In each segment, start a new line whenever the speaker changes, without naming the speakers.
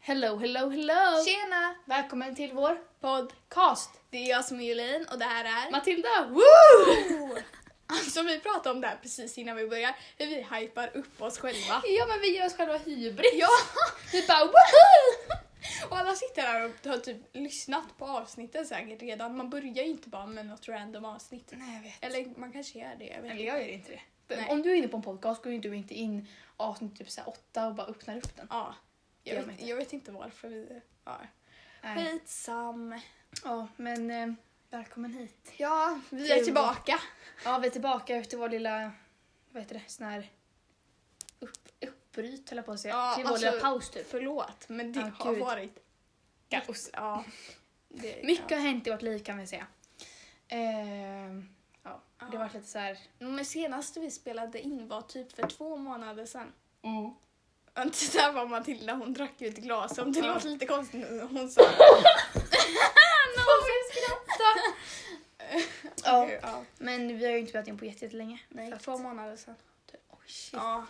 Hello, hello, hello!
Tjena!
Välkommen till vår podcast!
Alltså, Det är jag som är Julin och det här är...
Matilda! Woo!
Alltså vi pratade om det här precis innan vi börjar, hur vi hypar upp oss själva.
Ja men vi ger oss själva hybris.
Ja!
Vi bara woohoo!
Och alla sitter här och har typ lyssnat på avsnitten säkert redan. Man börjar ju inte bara med något random avsnitt.
Nej jag vet.
Eller man kanske gör det, jag
Eller
vet inte.
jag gör inte det.
Nej.
Om du är inne på en podcast går ju inte du inte in avsnitt typ såhär åtta och bara öppnar upp den.
Ja.
Det gör
Jag
man
vet,
inte.
jag vet inte varför vi... Ja.
Nej.
Skitsam.
Ja men eh, välkommen hit.
Ja, vi
Kul.
är tillbaka.
Ja vi är tillbaka efter vår lilla, vad heter det, sån här upp, uppbryt höll jag på att säga.
Ja,
till vår
alltså-
lilla paus typ.
Förlåt, men det
Ja,
har
gud.
varit...
Kaos.
Ja. Det,
Mycket
ja.
har hänt i vårt liv kan vi säga. Ehm, ja, det har varit lite så här.
Mm, Men senaste vi spelade in var typ för två månader sedan.
Mm.
Inte där var Matilda, hon drack ju ett glas. Om det
Ja.
låter lite konstigt nu. Hon sa...
Ja.
ja.
Men vi har ju inte spelat in på jätte- jättelänge.
Nej,
För att-
två månader sedan.
Oj, shit.
Ja.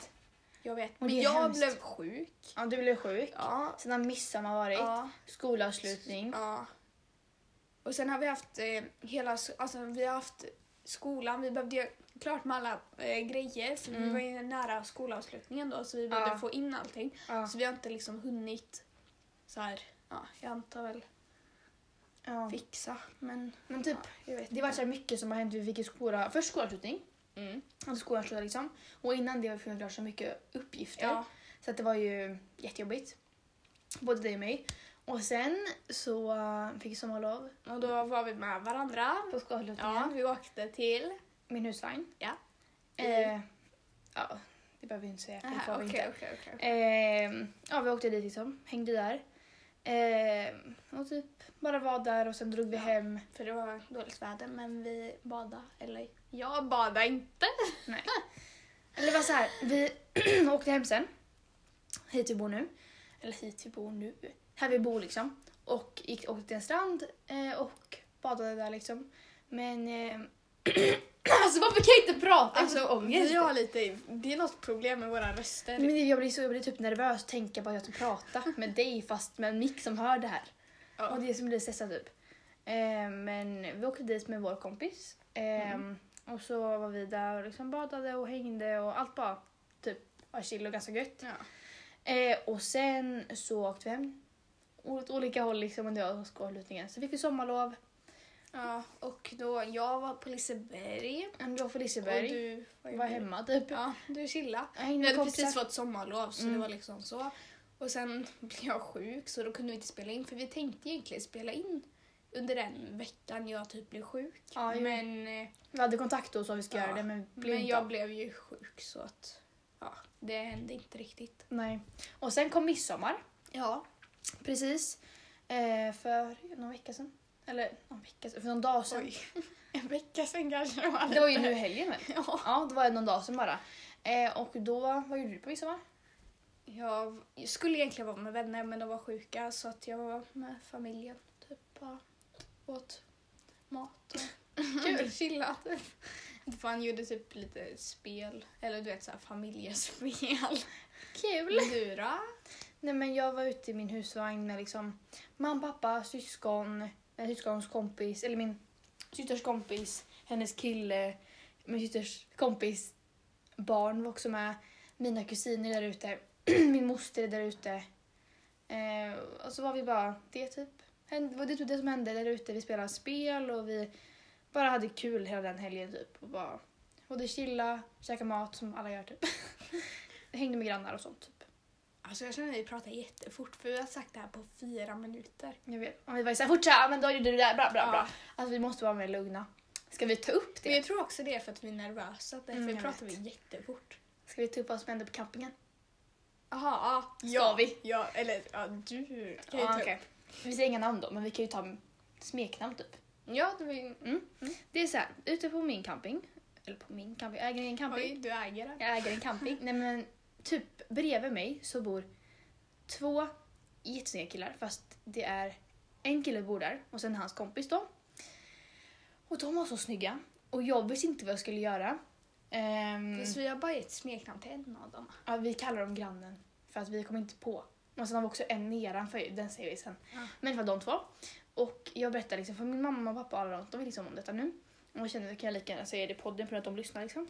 Jag vet.
Och det
Men
är
jag
hemskt.
blev sjuk.
Ja, Mm. du blev sjuk.
Ja.
Sen har midsommar varit.
Ja.
Skolavslutning.
ja. Och sen har vi haft eh, hela... s- Alltså vi har haft skolan. Vi behövde ju klart med alla eh, grejer. För vi
Mm.
var ju nära skolavslutningen då. Så vi behövde
Ja.
få in allting.
Ja.
Så vi har inte liksom hunnit så här... Ja, jag antar väl
Ja.
fixa. Men
Men typ,
ja, jag vet
det var så här mycket som har hänt. Vi fick ju skola, först skolavslutning.
Mm.
Alltså skolan slutade liksom. Och innan det var vi klart så mycket uppgifter.
Ja.
Så att det var ju jättejobbigt. Både dig och mig. Och sen så eh, fick jag sommarlov
Och då var vi med varandra.
på skolavslutningen.
Ja, vi åkte till...
Min husvagn.
Ja.
Eh, ja, det behöver vi inte säga. för det får vi
Okej,
inte.
okej, okej.
Eh, ja, vi åkte dit liksom. Hängde där. Eh, och typ bara var där och sen drog vi
Ja.
hem.
För det var dåligt väder, men vi badade. Eller jag badade inte.
Eller det var så här, vi åkte hem sen. Hit vi bor nu. Eller hit vi bor nu. Här vi bor liksom. Och gick, åkte till en strand eh, och badade där liksom. Men... Eh, alltså varför kan jag inte prata? Alltså, alltså ångest.
vi har lite... Det är något problem med våra röster.
Men jag blir, så, jag blir typ nervös att tänka på att jag ska prata med dig fast med en mick som hör det här.
Ja.
Och det är som blir stressad typ. Eh, men vi åkte dit med vår kompis. Eh,
Mm.
Och så var vi där och liksom badade och hängde och allt bara typ var chill och ganska gött.
Ja.
Eh, och sen så åkte vi hem. Åt olika håll liksom under avskolavslutningen. Så fick vi sommarlov.
ja, och då jag var på Liseberg.
Men då för
Och
Liseberg.
du
var hemma typ.
Ja, du chillade.
Jag hängde
Vi
med
hade
kompisar.
precis fått sommarlov så
Mm.
det var liksom så. Och sen blev jag sjuk så då kunde vi inte spela in för vi tänkte egentligen spela in under den veckan jag typ blev sjuk.
Ja, jo.
men eh,
Vi hade kontakt och sa vi skulle
Ja,
göra det men blev
men
inte
jag
av.
blev ju sjuk så att ja, det hände inte riktigt.
Nej. Och sen kom midsommar.
Ja.
Precis. Eh, för någon vecka sedan. Eller någon vecka sedan, för någon dag sedan.
Oj. En vecka sen kanske det var.
Det var ju nu i helgen väl?
Ja.
Ja, det var någon dag sedan bara. Eh, och då, vad gjorde du på midsommar?
Jag skulle egentligen vara med vänner men de var sjuka så att jag var med familjen. Typ bara åt mat och typ.
Kul.
chillat. Man gjorde typ lite spel, eller du vet såhär familjespel.
Kul!
Du då?
Nej men jag var ute i min husvagn med liksom mamma, pappa, syskon, min syskons kompis, eller min systers kompis, hennes kille, min systers kompis barn var också med, mina kusiner där ute, min moster där ute. Eh, och så var vi bara, det typ, hände, var det typ det som hände där ute. Vi spelade spel och vi bara hade kul hela den helgen typ. Och bara, både chilla, käka mat som alla gör typ. Hängde med grannar och sånt typ.
Alltså jag känner att vi pratar jättefort för vi har sagt det här på fyra minuter.
Jag vet. Om vi var såhär, fortsätt, men då gjorde du det där, bra, bra,
Ja.
bra. Alltså vi måste vara mer lugna. Ska vi ta upp
Men
det?
jag tror också det är för att vi är nervösa, därför
Mm, jag
pratar
vet.
vi jättefort.
Ska vi ta upp vad som hände på campingen?
Jaha, ja.
Ska vi?
Ja, eller ja, du kan ju
Ja,
ta upp.
okej. typ. Vi säger inga namn då, men vi kan ju ta smeknamn typ.
Ja, det var...
Det är såhär, ute på min camping, eller på min camping, jag äger en camping.
Oj, du äger den.
Jag äger en camping. Nej men typ bredvid mig så bor två jättesnygga killar fast det är en kille bor där och sen hans kompis då. Och de var så snygga och jag visste inte vad jag skulle göra. Ehm,
Så vi har bara gett smeknamn till en av dem.
Ja, vi kallar dem grannen. För att vi kom inte på Och sen har vi också en nedanför, den säger vi sen.
Ja.
Men det var de två. Och jag berättade liksom för min mamma och pappa och alla de, de vill liksom om detta nu. Och jag kände att jag kan lika gärna säga det i podden för att de lyssnar liksom.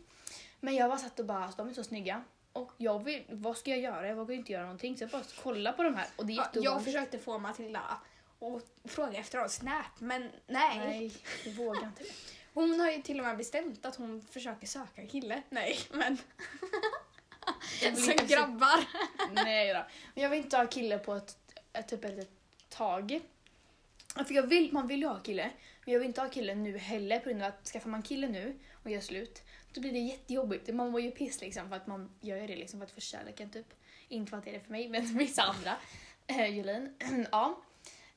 Men jag bara satt och bara, alltså, de är så snygga. Och jag vill, vad ska jag göra? Jag vågar ju inte göra någonting. Så jag bara kolla på de här och det är
Ja, jag
jätteovanligt.
försökte få Matilda att fråga efter av Snap, men nej.
Nej, jag vågar inte.
Hon har ju till och med bestämt att hon försöker söka en kille. Nej, men
Jag vill
så
inte se-
grabbar.
Nej då. Men jag vill inte ha kille på ett, ett, typ ett, tag. För jag vill, man vill ju ha kille, men jag vill inte ha kille nu heller på grund av att skaffar man kille nu och gör slut, då blir det jättejobbigt. Man mår ju piss liksom för att man gör ju det liksom för att få kärleken typ. Inte för att det är det för mig, men för vissa andra. Eh, Julin. ja.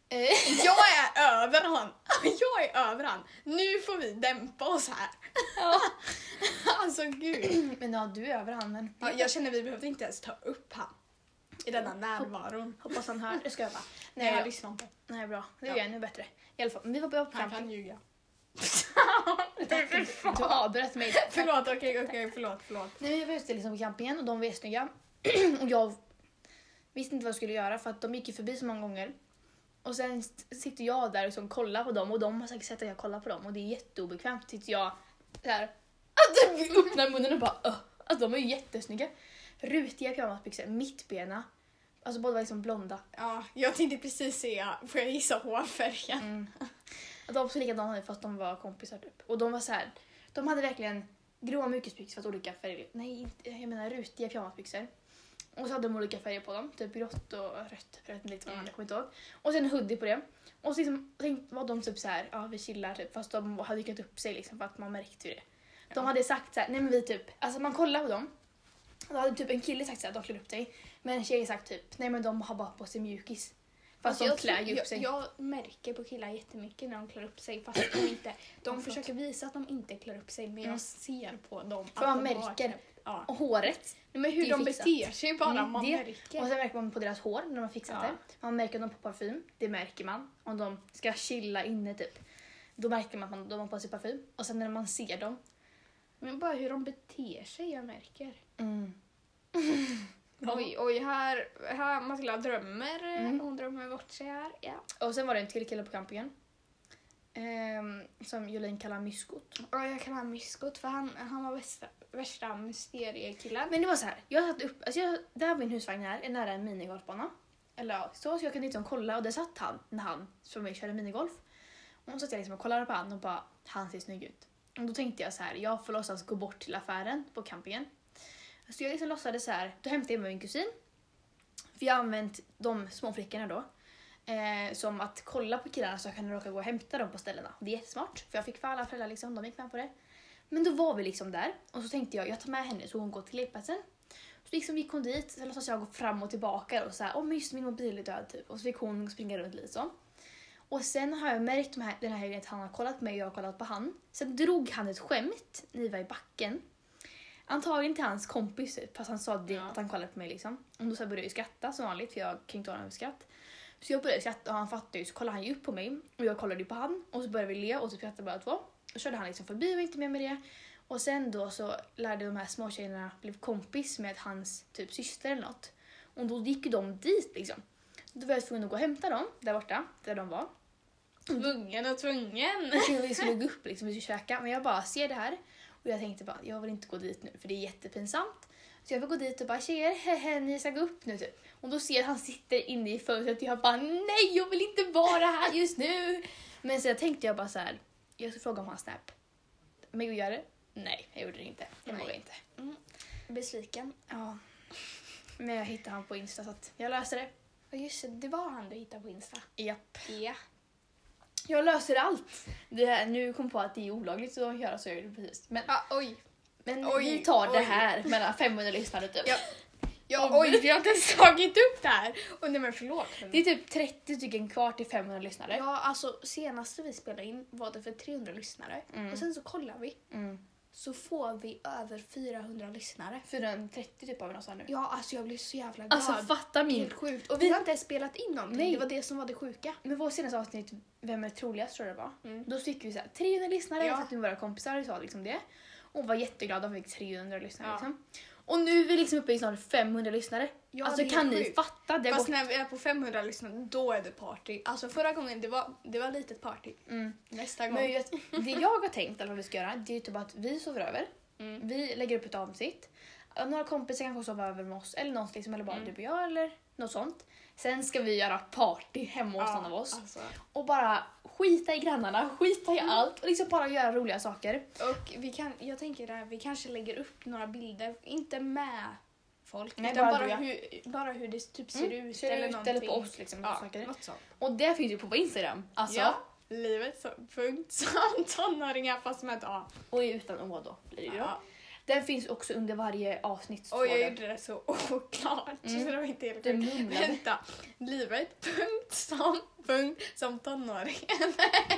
Eh,
Jag är över han. Jag är över han. Nu får vi dämpa oss här.
Ja.
Alltså gud.
men ja, du är över han, men
Ja, jag känner vi behövde inte ens ta upp han i denna närvaron.
hoppas han hör. Det ska jag bara. Nej,
Nej, jag
jag,
lyssnar inte.
nej bra. Nu
Ja.
är jag ännu bättre. I alla fall, men vi var på
Han
camping.
kan ljuga.
Du avbröt mig.
Förlåt, okej, okej, förlåt, förlåt.
Nej, men jag var ute liksom på campingen och de var snygga. och jag visste inte vad jag skulle göra för att de gick ju förbi så många gånger. Och sen s- sitter jag där och liksom kollar på dem och de har säkert sett att jag kollar på dem och det är jätteobekvämt. Sitter jag såhär, att jag öppnar munnen och bara "Åh." Alltså de är ju jättesnygga. Rutiga pyjamasbyxor, mittbena. Alltså båda var liksom blonda.
Ja, jag tänkte precis säga, får jag gissa hårfärgen?
Mm. Och de såg likadana ut fast de var kompisar typ. Och de var så här, de hade verkligen gråa mjukisbyxor fast olika färger. Nej, inte- jag menar rutiga pyjamasbyxor. Och så hade de olika färger på dem, typ grått och rött. Jag vet inte riktigt vad
Mm.
jag kommer inte ihåg. Och sen en hoodie på det. Och så liksom, tänk, var de typ så här, ja vi chillar typ. Fast de hade klätt upp sig liksom för att man märkte ju det. De
Ja.
hade sagt så här, nej men vi typ, alltså man kollar på dem. Då hade typ en kille sagt så här, de klär upp sig. Men en tjej sagt typ, nej men de har bara på sig mjukis. Fast de
Alltså, jag,
klär
tror-
ju upp sig.
Jag, jag märker på killar jättemycket när de klär upp sig fast de inte... De
förlåt.
försöker visa att de inte klär upp sig men
Mm.
jag ser på dem
För
att
man
de har
märker.
knäppt- Ja.
Och håret.
Nej, men hur
det är
de
fixat.
beter sig bara,
Mm,
man
det-
märker.
Och sen märker man på deras hår när de har fixat
Ja.
det. Man märker om de på parfym, det märker man. Om de ska chilla inne typ, då märker man att man- de har på sig parfym. Och sen när man ser dem.
men bara hur de beter sig, jag märker.
Mm. Ja.
Oj, oj, här, här Matilda drömmer.
Mm.
Hon drömmer bort sig här. Ja.
Och sen var det en till kille på campingen. Ehm, som Jolin kallar myskot.
Och jag kallar honom Myskot för han, han var värsta, värsta mysteriekillen.
Men det var så här, jag satt upp, alltså jag, där min husvagn är, är nära en minigolfbana. Eller ja, så, så jag kunde liksom kolla och där satt han när han för mig körde minigolf. Och så satt jag liksom och kollade på han och bara, han ser snygg ut. Och då tänkte jag så här, jag får låtsas gå bort till affären på campingen. Så jag liksom låtsades så här, då hämtade jag med min kusin. För jag har använt de små flickorna då. Eh, som att kolla på killarna så jag kan råka gå och hämta dem på ställena. Det är jättesmart, för jag fick för alla föräldrar liksom, de gick med på det. Men då var vi liksom där och så tänkte jag, jag tar med henne så hon går till lekplatsen. Så liksom gick hon dit, så låtsas jag gå fram och tillbaka och så här, åh men just min mobil är död typ. Och så fick hon springa runt lite så. Och sen har jag märkt de här, den här helgen att han har kollat på mig och jag har kollat på han. Sen drog han ett skämt när vi var i backen. Antagligen till hans kompis typ, fast han sa det,
Ja.
att han kollade på mig liksom. Och då så här började jag ju skratta som vanligt för jag kan ju inte ha något skratt. Så jag började skratta och han fattade ju så kollade han ju upp på mig och jag kollade ju på han och så började vi le och så skrattade båda två. Och körde han liksom förbi och inte mer med det. Och sen då så lärde de här småtjejerna blev kompis med hans typ syster eller något. Och då gick ju de dit liksom. Då var jag tvungen att gå och hämta dem där borta, där de var. Mm.
Tvungen och tvungen.
Så vi skulle gå upp liksom, vi skulle käka. Men jag bara ser det här och jag tänkte bara jag vill inte gå dit nu för det är jättepinsamt. Så jag vill gå dit och bara tjejer, hehe, ni ska gå upp nu typ. Och då ser jag att han sitter inne i fönstret och jag bara nej jag vill inte vara här just nu. Men så jag tänkte jag bara så här, jag ska fråga om hans snap. Men jag gör det? Nej, jag gjorde det inte. Jag
Nej.
vågade inte.
Besviken.
Ja. Men jag hittade han på Insta så att jag löser det.
Och just det, det var han du hittade på Insta.
Japp.
Ja.
Jag löser allt! Det här, nu kom jag på att det är olagligt att göra så jag gjorde precis. Men,
Ah, oj.
men
Oj,
vi tar det
oj.
här mellan 500 lyssnare typ.
Ja. Ja, oj, vi har inte ens tagit upp det här. Och nej men förlåt.
Det är typ 30 stycken kvar till 500 lyssnare.
ja, alltså senaste vi spelade in var det för 300 lyssnare.
Mm.
Och sen så kollar vi,
Mm.
så får vi över 400 lyssnare.
430 typ har vi någonstans nu.
Ja, alltså jag blev så jävla glad.
Alltså fatta
det är
min...
helt sjukt. Och vi har inte ens spelat in någonting.
Nej.
Det var det som var det sjuka.
Men vår senaste avsnitt, Vem är troligast tror jag det var.
Mm.
Då fick vi så här, 300 lyssnare.
Ja.
Jag satt med våra kompisar och sa liksom det. Och var jätteglad att vi fick 300 lyssnare.
Ja.
Liksom. Och nu är vi liksom uppe i snart 500 lyssnare.
Ja,
alltså
det är
kan ni
sjukt.
fatta? Det har
Fast
gått...
när vi är på 500 lyssnare, då är det party. Alltså förra gången, det var, det var litet party.
Mm.
Nästa gång.
Men vet, det jag har tänkt att vi ska göra det är typ att vi sover över.
Mm.
Vi lägger upp ett avsnitt. Några kompisar kanske sover över med oss eller någon liksom, eller bara
Mm.
du och jag eller något sånt. Sen ska vi göra party hemma hos någon av oss.
Alltså.
Och bara skita i grannarna, skita
Mm.
i allt och liksom bara göra roliga saker.
Och vi kan, jag tänker att vi kanske lägger upp några bilder, inte med folk,
Nej,
utan
bara
bara,
du och
hur, bara hur det typ ser ut
Ser
eller
ut
någonting.
eller på oss liksom.
Ja,
saker.
något sånt.
Och det finns ju på vår Instagram. Alltså.
Ja, livet så, punkt som tonåringar fast med ett A.
Och är utan å då blir det ju då.
Ja.
Den finns också under varje avsnitt. så
Och jag
står det.
gjorde det så oklart så det var inte helt
Du
sjukt.
mumlade.
Vänta, Mm. livet punkt som punkt som tonåring.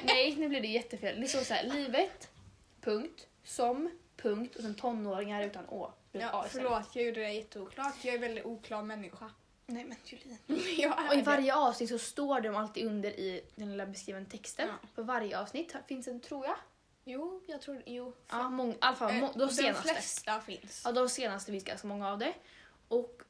Nej, nu blev det jättefel. Det står så här, livet, punkt, som, punkt och sen tonåringar utan å. Blir ett A
Ja,
istället.
förlåt, jag gjorde det jätteoklart. Jag är en väldigt oklar människa.
Nej men Julin.
Jag är
Och i
det.
varje avsnitt så står de alltid under i den lilla beskrivna texten.
Ja.
På varje avsnitt finns en, tror jag.
Jo, jag tror Jo.
Ja, många, i alla fall må-
Eh,
de senaste.
De flesta finns.
Ja, de senaste finns ganska många av det. Och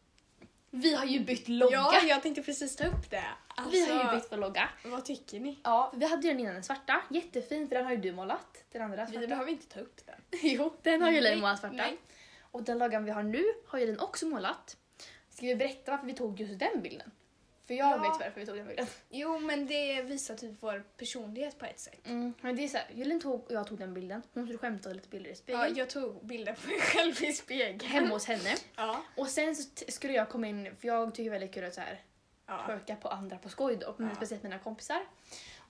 vi har ju bytt logga.
Ja, alltså- jag tänkte precis ta upp det.
Vi har ju bytt vår logga.
Vad tycker ni?
Ja, vi hade ju den innan den svarta. Jättefin för den har ju du målat. Den andra
Vi
svarta.
behöver inte ta upp det.
Jo, den har ju
Nej,
Lin målat svarta.
nej.
Och den loggan vi har nu har ju Lin också målat. Ska vi berätta varför vi tog just den bilden? För jag
Ja.
vet varför vi tog den bilden.
Jo, men det visar typ vår personlighet på ett sätt.
Mm. Men det är så här, Julin tog och jag tog den bilden. Hon skulle skämta lite bilder i
Ja,
spegeln.
jag tog bilder på mig själv i spegeln.
Hemma hos henne.
Ja.
Och sen så t- skulle jag komma in, för jag tycker väldigt kul att så här,
ja.
twerka på andra på skoj då, men
Ja.
speciellt mina kompisar.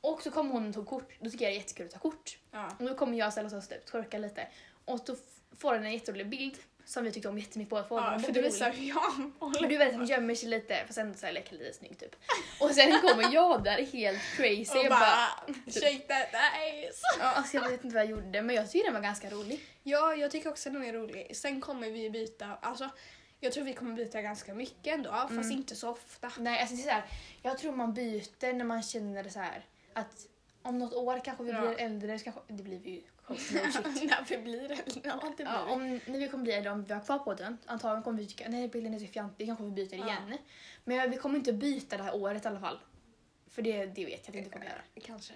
Och så kom hon och tog kort, då tycker jag det är jättekul att ta kort.
ja.
Och då kommer jag ställa oss upp, typ twerka lite. Och då f- får hon en jätterolig bild som vi tyckte om jättemycket båda två.
ja
Men
för
det
det
är
visar hur jag
Men
håller.
du vet, han gömmer sig lite fast ändå så här leker lite snygg typ. Och sen kommer jag där helt crazy.
Och
jag bara,
bara, shake that ass.
ja, alltså jag vet inte vad jag gjorde men jag tyckte den var ganska rolig.
Ja, jag tycker också den är rolig. Sen kommer vi byta, alltså jag tror vi kommer byta ganska mycket ändå, fast inte så ofta.
Nej, alltså det är så här, jag tror man byter när man känner så här att om något år kanske vi
Ja.
blir äldre, så kanske, det blir vi ju. no shit.
När vi blir äldre. Ja, det blir
Ja,
vi.
om, när vi kommer bli äldre, om vi har kvar på den, antagligen kommer vi tycka nej bilden är så fjantig, kanske vi byter
Ja.
igen. Men vi kommer inte byta det här året i alla fall. För det, det vet jag att vi inte kommer göra.
Kanske.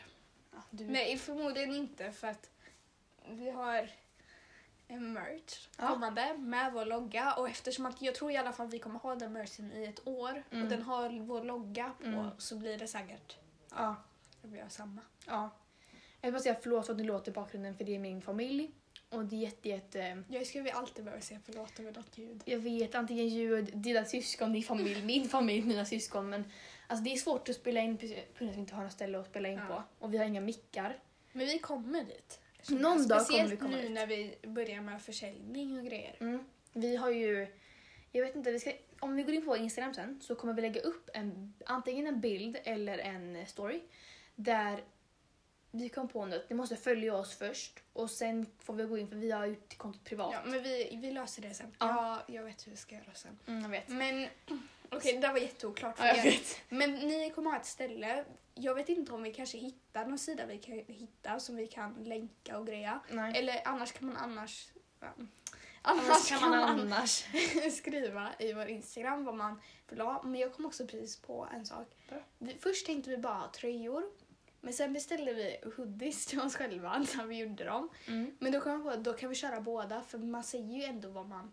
Ja, du...
Nej, förmodligen inte för att vi har en merch
Ja.
kommande med vår logga och eftersom att jag tror i alla fall vi kommer ha den merchen i ett år
Mm.
och den har vår logga på
Mm.
så blir det säkert
ja.
att vi gör samma.
Ja. Jag vill bara säga förlåt för att ni låter i bakgrunden för det är min familj. Och det är jätte, jätte...
Jag ska vi alltid behöva säga förlåt över något ljud.
Jag vet antingen ljud, dina syskon, din familj, min familj, mina syskon. Men alltså, det är svårt att spela in på grund av att vi inte har något ställe att spela in
Ja.
på. Och vi har inga mickar.
Men vi kommer dit.
Någon dag kommer
Speciellt
vi komma
nu
dit.
när vi börjar med försäljning och grejer.
Mm. Vi har ju... Jag vet inte, vi ska, om vi går in på vår Instagram sen så kommer vi lägga upp en, antingen en bild eller en story där vi kom på något. Ni måste följa oss först och sen får vi gå in för vi har gjort kontot privat.
Ja, men vi, vi löser det sen.
Ja.
Ja. Jag, vet hur vi ska göra sen.
Mm, jag vet.
Men okej, det där var jätteoklart för
Ja, jag
er.
vet.
Men ni kommer ha ett ställe. Jag vet inte om vi kanske hittar någon sida vi kan hitta som vi kan länka och greja.
Nej.
Eller annars kan man annars... ja.
Annars kan man annars.
skriva i vår Instagram vad man vill ha. Men jag kom också precis på en sak.
Bra.
Vi, först tänkte vi bara ha tröjor. Men sen beställde vi hoodies till oss själva när vi gjorde dem.
Mm.
Men då kom jag på att då kan vi köra båda för man säger ju ändå vad man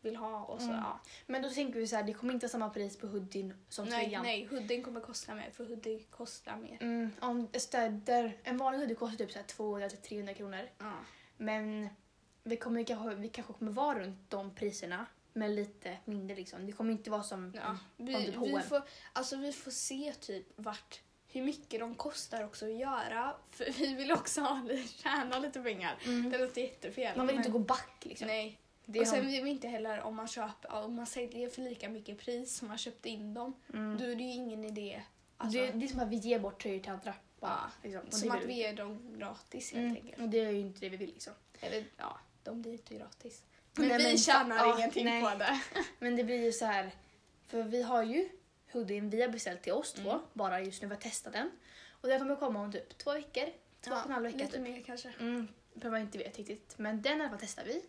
vill ha och så
Mm.
ja.
Men då tänker vi så här, det kommer inte samma pris på hoodien som
Nej,
tröjan.
nej, hoodien kommer kosta mer för hoodie kostar mer.
Mm, om städer, en vanlig hoodie kostar typ så här 200-300 kronor.
Ja.
Men vi, kommer, kanske- vi kanske kommer vara runt de priserna. Men lite mindre liksom. Det kommer inte vara som...
Ja,
Om
vi,
typ H&M.
vi, får, alltså vi får se typ vart, hur mycket de kostar också att göra. För vi vill också ha, li- tjäna lite pengar.
Mm.
Det låter jättefel.
Man vill
men-
inte gå back liksom.
Nej.
Det
och
har-
sen vill vi inte heller om man köper, ja, om man säljer för lika mycket pris som man köpte in dem.
mm.
Då är det ju ingen idé. Alltså,
det, det är som att vi ger bort tröjor till andra.
ja,
liksom. Och
som
det
att
vill
vi ger dem gratis helt
Mm.
enkelt.
Och det är ju inte det vi vill liksom.
Eller ja, de blir inte gratis. Men
Nej,
vi
men-
tjänar
ja,
ingenting
nej.
på det.
Men det blir ju så här, för vi har ju hoodien vi har beställt till oss
Mm.
två, bara just nu för att testa den. Och den kommer komma om typ två veckor, två och en halv vecka
lite
typ.
mer kanske.
Mm, för man inte vet riktigt. Men den i alla fall testar vi.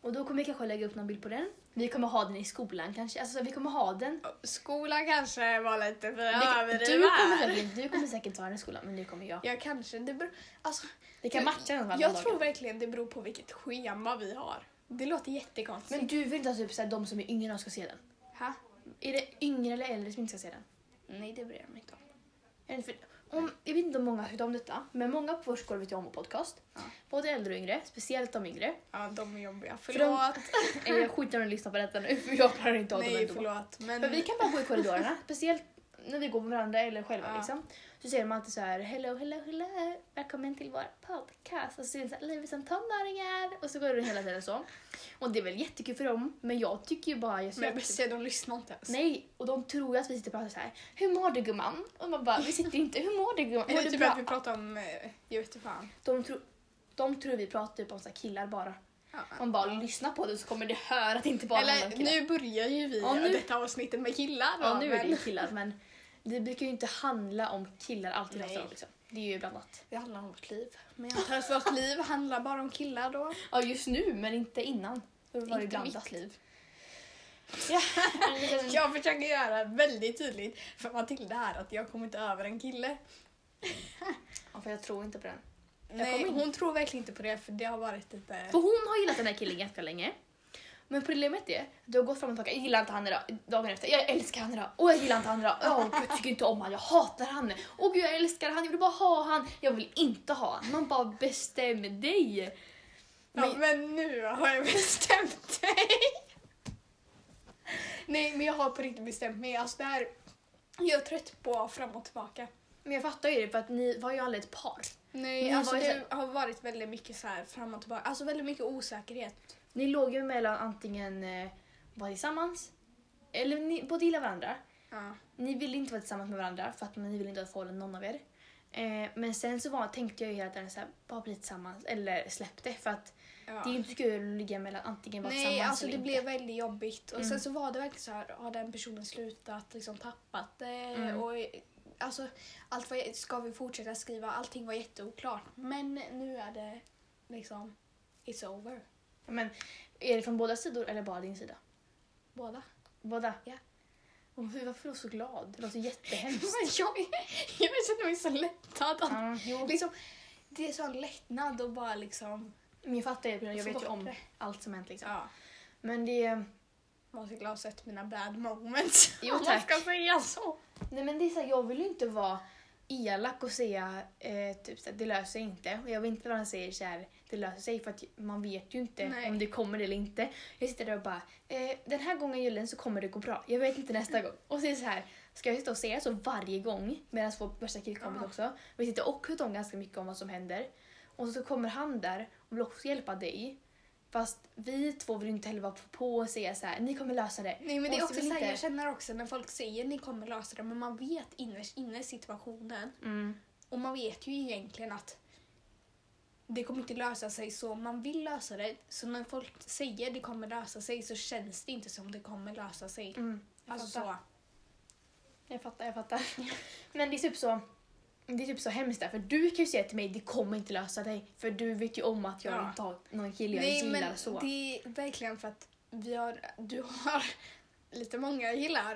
Och då kommer vi kanske lägga upp någon bild på den. Vi kommer ha den i skolan kanske. Alltså så vi kommer ha den.
Skolan kanske var lite för
Vi- du, kommer
överdriven.
säkert, du kommer säkert ta den i skolan men det kommer jag.
Jag kanske, det beror, alltså,
Det kan
Jag-
matcha den
jag
alla dagar.
tror verkligen det beror på vilket schema vi har. Det låter jättekonstigt.
Men du vill inte att typ, såhär, de som är yngre ska se den?
ha?
Är det yngre eller äldre som inte ska se den?
Nej, det bryr jag mig inte om.
Är det För, om, jag vet inte om många vet om detta, men många på vår skola vet ju om vår podcast.
Ja.
Både äldre och yngre, speciellt de yngre.
Ja, de är jobbiga.
de-
Förlåt.
Eh, Jag skiter i att lyssna på detta nu för jag klarar inte av dem
Nej,
ändå.
förlåt. Men,
För vi kan bara gå i korridorerna, speciellt när vi går med varandra eller själva
Ja.
liksom. Så säger de alltid så här hello, hello, hello, välkommen till vår podcast. Och så säger de så här, livet som tonåringar. Och så går det hela tiden så. Och det är väl jättekul för dem, men jag tycker ju bara... Jag ser
men
att-
Bessie, de lyssnar inte ens.
Nej, och de tror ju att vi sitter och pratar så här. Hur mår du gumman? Och man bara, vi sitter ju inte, hur mår du gumman? Mår
Eller
du
typ
bra?
att vi pratar om, eh, jag vet inte fan.
De, tror, de tror vi pratar typ om så här killar bara.
Ja.
Man bara lyssnar på det så kommer de höra att det inte bara handlar om
Eller
killar.
nu börjar ju vi
Ja, nu-
detta avsnittet med killar.
ja, nu är det
men
ju killar men det brukar ju inte handla om killar alltid.
Nej.
Alltså, liksom. Det är ju bland annat.
Det handlar om vårt liv. Men jag antar att vårt liv handlar bara om killar då.
Ja just nu men inte innan. Då var det
Inte
blandat
mitt
liv.
Jag försöker göra väldigt tydligt för Matilda här att jag kommer inte över en kille.
Ja, för jag tror inte på den.
Nej,
kommer in.
hon tror verkligen inte på det för det har varit lite...
För hon har gillat den här killen ganska länge. Men problemet är, du har gått fram och tillbaka. Jag gillar inte han idag. Dagen efter, jag älskar han idag. Åh jag gillar inte han idag. Åh gud, jag tycker inte om han. Jag hatar han. Åh gud, jag älskar han. Jag vill bara ha han. Jag vill inte ha han. Man bara bestäm dig.
Ja, men nu har jag bestämt mig. Nej, men jag har på riktigt bestämt mig. Alltså det här, jag är trött på fram och tillbaka.
Men jag fattar ju det för att ni var ju aldrig ett par.
Nej,
Ni
alltså
var ju
det har varit väldigt mycket så här fram och tillbaka. Alltså väldigt mycket osäkerhet.
Ni låg ju mellan antingen eh, vara tillsammans eller ni båda gillar varandra.
Ja.
Ni ville inte vara tillsammans med varandra för att ni ville inte ha ett förhållande någon av er. Eh, men sen så var, tänkte jag ju hela tiden såhär, bara bli tillsammans eller släpp det för att
Ja.
det är ju inte kul att ligga mellan antingen vara
Nej,
tillsammans
alltså det
eller
blev väldigt jobbigt. Och
Mm.
sen så var det verkligen så här, har den personen slutat, liksom tappat det?
Mm.
Och, alltså, allt var, ska vi fortsätta skriva? Allting var jätteoklart. Men nu är det liksom, it's over.
inte. Men är det från båda sidor eller bara din sida?
Båda.
Båda?
Ja.
Åh, fy, varför är du så glad? Det låter jättehemskt.
Men jag, jag känner mig så lättad. att-
Ja, jo.
Liksom, det är sån lättnad och bara liksom...
Men jag fattar ju, jag
Få
vet ju
bort
om
det.
allt som hänt liksom.
Ja.
Men det är...
Man skulle ha sett mina bad moments.
Jo,
Om
tack.
Man ska säga så.
Nej men det är så här, jag vill ju inte vara elak och säga eh, typ så här, det löser sig inte. Och jag vill inte vara säger så här, det löser sig för att man vet ju inte
Nej.
om det kommer eller inte. Jag sitter där och bara, eh, den här gången julen så kommer det gå bra. Jag vet inte nästa gång. Och så är det så här, ska jag sitta och säga så varje gång? Medan vår bästa killkompis
Ja.
också. Vi sitter och pratar om ganska mycket om vad som händer. Och så kommer han där och vill också hjälpa dig. Fast vi två vill inte heller vara på och säga så här, ni kommer lösa det.
Nej men det
Och
är
så
också
vill
såhär,
inte-
jag känner också när folk säger ni kommer lösa det men man vet innerst inne situationen
Mm.
och man vet ju egentligen att det kommer inte lösa sig så man vill lösa det så när folk säger det kommer lösa sig så känns det inte som det kommer lösa sig.
Mm.
Alltså
fattar.
så.
Jag fattar, jag fattar. Men det är typ så det är typ så hemskt där, för du kan ju säga till mig det kommer inte lösa dig för du vet ju om att jag
Ja.
inte har någon kille jag
Nej
gillar
men
så.
det är verkligen för att vi har, du har lite många gillar.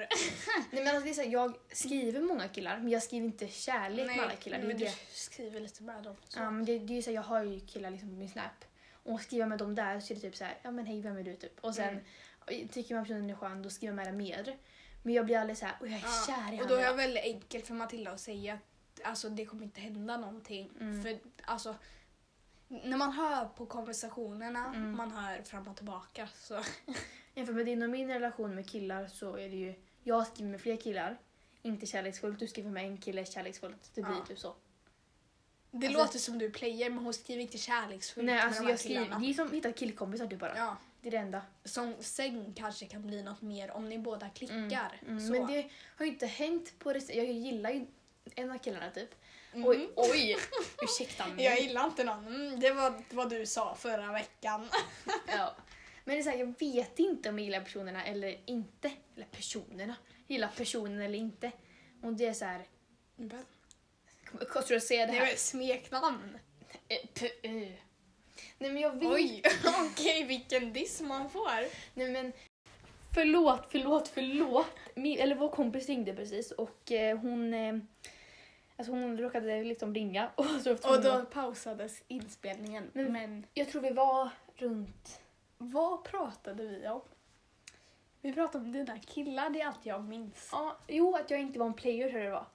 Nej, men alltså, det är så här, jag skriver många killar men jag skriver inte kärlek med alla killar. Det är
men
ju
du
det.
skriver lite med dem. Så.
Ja, men det, det är ju så här, jag har ju killar liksom på min snap och skriver jag med dem där så är det typ så här, ja men hej vem är du typ och sen
Mm.
tycker man personen är skön då skriver man med den mer. Men jag blir aldrig så här, "Åh, jag är
Ja,
kär i
Och då är det
honom.
väldigt enkelt för Matilda att säga att alltså, det kommer inte hända någonting.
Mm.
För alltså, när man hör på konversationerna,
Mm.
man hör fram och tillbaka. Så.
Jämfört med din och min relation med killar så är det ju, jag skriver med fler killar, inte kärleksfullt, du skriver med en kille kärleksfullt. Det blir
Ja.
typ så.
Det
Alltså-
låter som du player men hon skriver inte kärleksfullt
Nej
med
alltså
de här
jag skriver,
killarna.
det är som att hitta killkompisar typ bara.
Ja,
Det är det enda.
som sen kanske kan bli något mer om ni båda klickar.
Mm,
så.
men det har ju inte hängt på det Jag gillar ju en av killarna typ.
Mm.
Oj, oj! Ursäkta mig.
Jag gillar inte någon. Mm, det var vad du sa förra veckan.
ja. Men det är så här, jag vet inte om jag gillar personerna eller inte. Eller personerna. Jag gillar personen eller inte. Och det är så här,
Det
kommer- kommer du att säga det här?
var smeknamn.
Eh, p- eh. Nej men jag vet.
Oj, okej vilken diss man får.
Nej men förlåt, förlåt, förlåt. Min, eller vår kompis ringde precis och eh, hon eh, Alltså hon råkade liksom ringa och så eftersom
Och
vi
då
var-
pausades inspelningen.
Men-
Men
Jag tror vi var runt...
vad pratade vi om? Vi pratade om dina killar, det är allt jag minns.
Ja, jo, att jag inte var en player tror jag det var.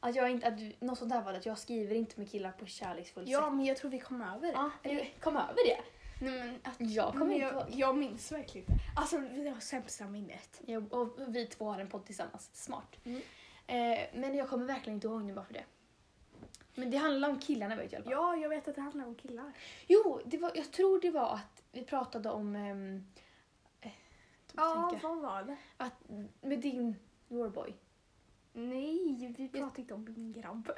Att jag inte, att, du- något sånt där var det, att jag skriver inte med killar på ett kärleksfullt
Ja,
sätt.
men jag tror vi kom över det.
Ja, eller kom över det.
Nej, men att,
Jag kommer
men
inte
Mm, jag,
ihåg.
jag minns verkligen inte. Alltså, vi har sämsta minnet.
Jag, och vi två har en podd tillsammans. Smart.
Mm.
Eh, men jag kommer verkligen inte ihåg nu bara för det. Men det handlar om killarna vet jag i alla fall.
Ja, jag vet att det handlar om killar.
Jo, det var, jag tror det var att vi pratade om... ehm, eh,
Ja,
tänka.
vad var det?
att, med din Warboy.
Nej, vi pratade inte om min grabb.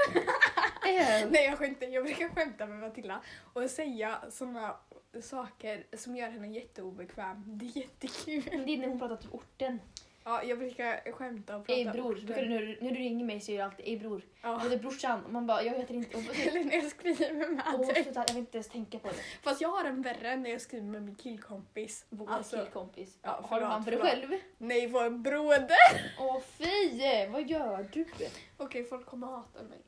Eh,
Nej, jag skämtar. Jag brukar skämta med Matilda och säga såna saker som gör henne jätteobekväm. Det är jättekul.
det är när hon pratar typ orten.
Ja, jag brukar skämta och prata
Ej bror.
orter.
Brukar du, när, du- när du ringer mig säger jag alltid ej bror. Jag
Ja.
heter brorsan och man bara jag heter inte... Och, och,
Eller när jag skriver med
och,
dig.
sluta, jag vill inte ens tänka på det.
Fast jag har en värre när jag skriver med min killkompis.
Vår
Alltså,
killkompis.
ja,
har du
förlåt,
han för dig
förlåt.
själv?
nej, vår broder.
Åh fy! Vad gör du?
Okej, folk kommer hata mig.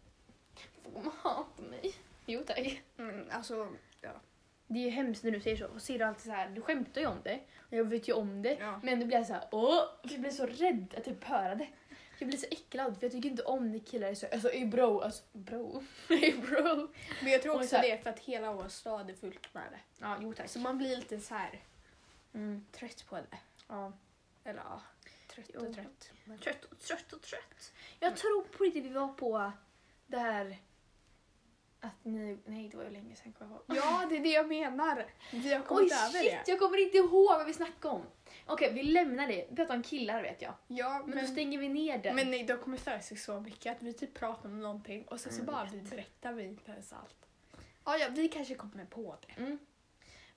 Får man hata mig? Jo tack.
Mm, alltså, ja.
Det är ju hemskt när du säger så. Och ser du alltid så här, du skämtar ju om det. Och jag vet ju om det.
ja.
Men då blir jag så här, åh! För jag blir så rädd att typ höra det. Jag blir så äcklad för jag tycker inte om när killar är så alltså ey bro, alltså bro, ey bro.
Men jag tror
Och
också
så här-
det är för att hela vår stad är fullt med det.
Ja, jo tack.
Så man blir lite så här
Mm,
trött på det.
ja.
Eller ja, trött
Jo.
och trött. Men-
Trött och trött och trött. Jag tror på riktigt vi var på det här att ni, nej det var ju länge sedan kommer jag ihåg.
Ja, det är det jag menar. Vi har
Oj
kommit över
shit,
det.
jag kommer inte ihåg vad vi snackade om. Okej, vi lämnar det. Vi pratar om killar vet jag.
Ja,
Mm. Men, då
men,
stänger vi ner den.
men nej, det har kommit för sig så mycket att vi typ pratar om någonting och sen så
Mm,
bara
jag
vi berättar vi inte ens allt. Ja, ja, vi kanske kommer på det.
mm.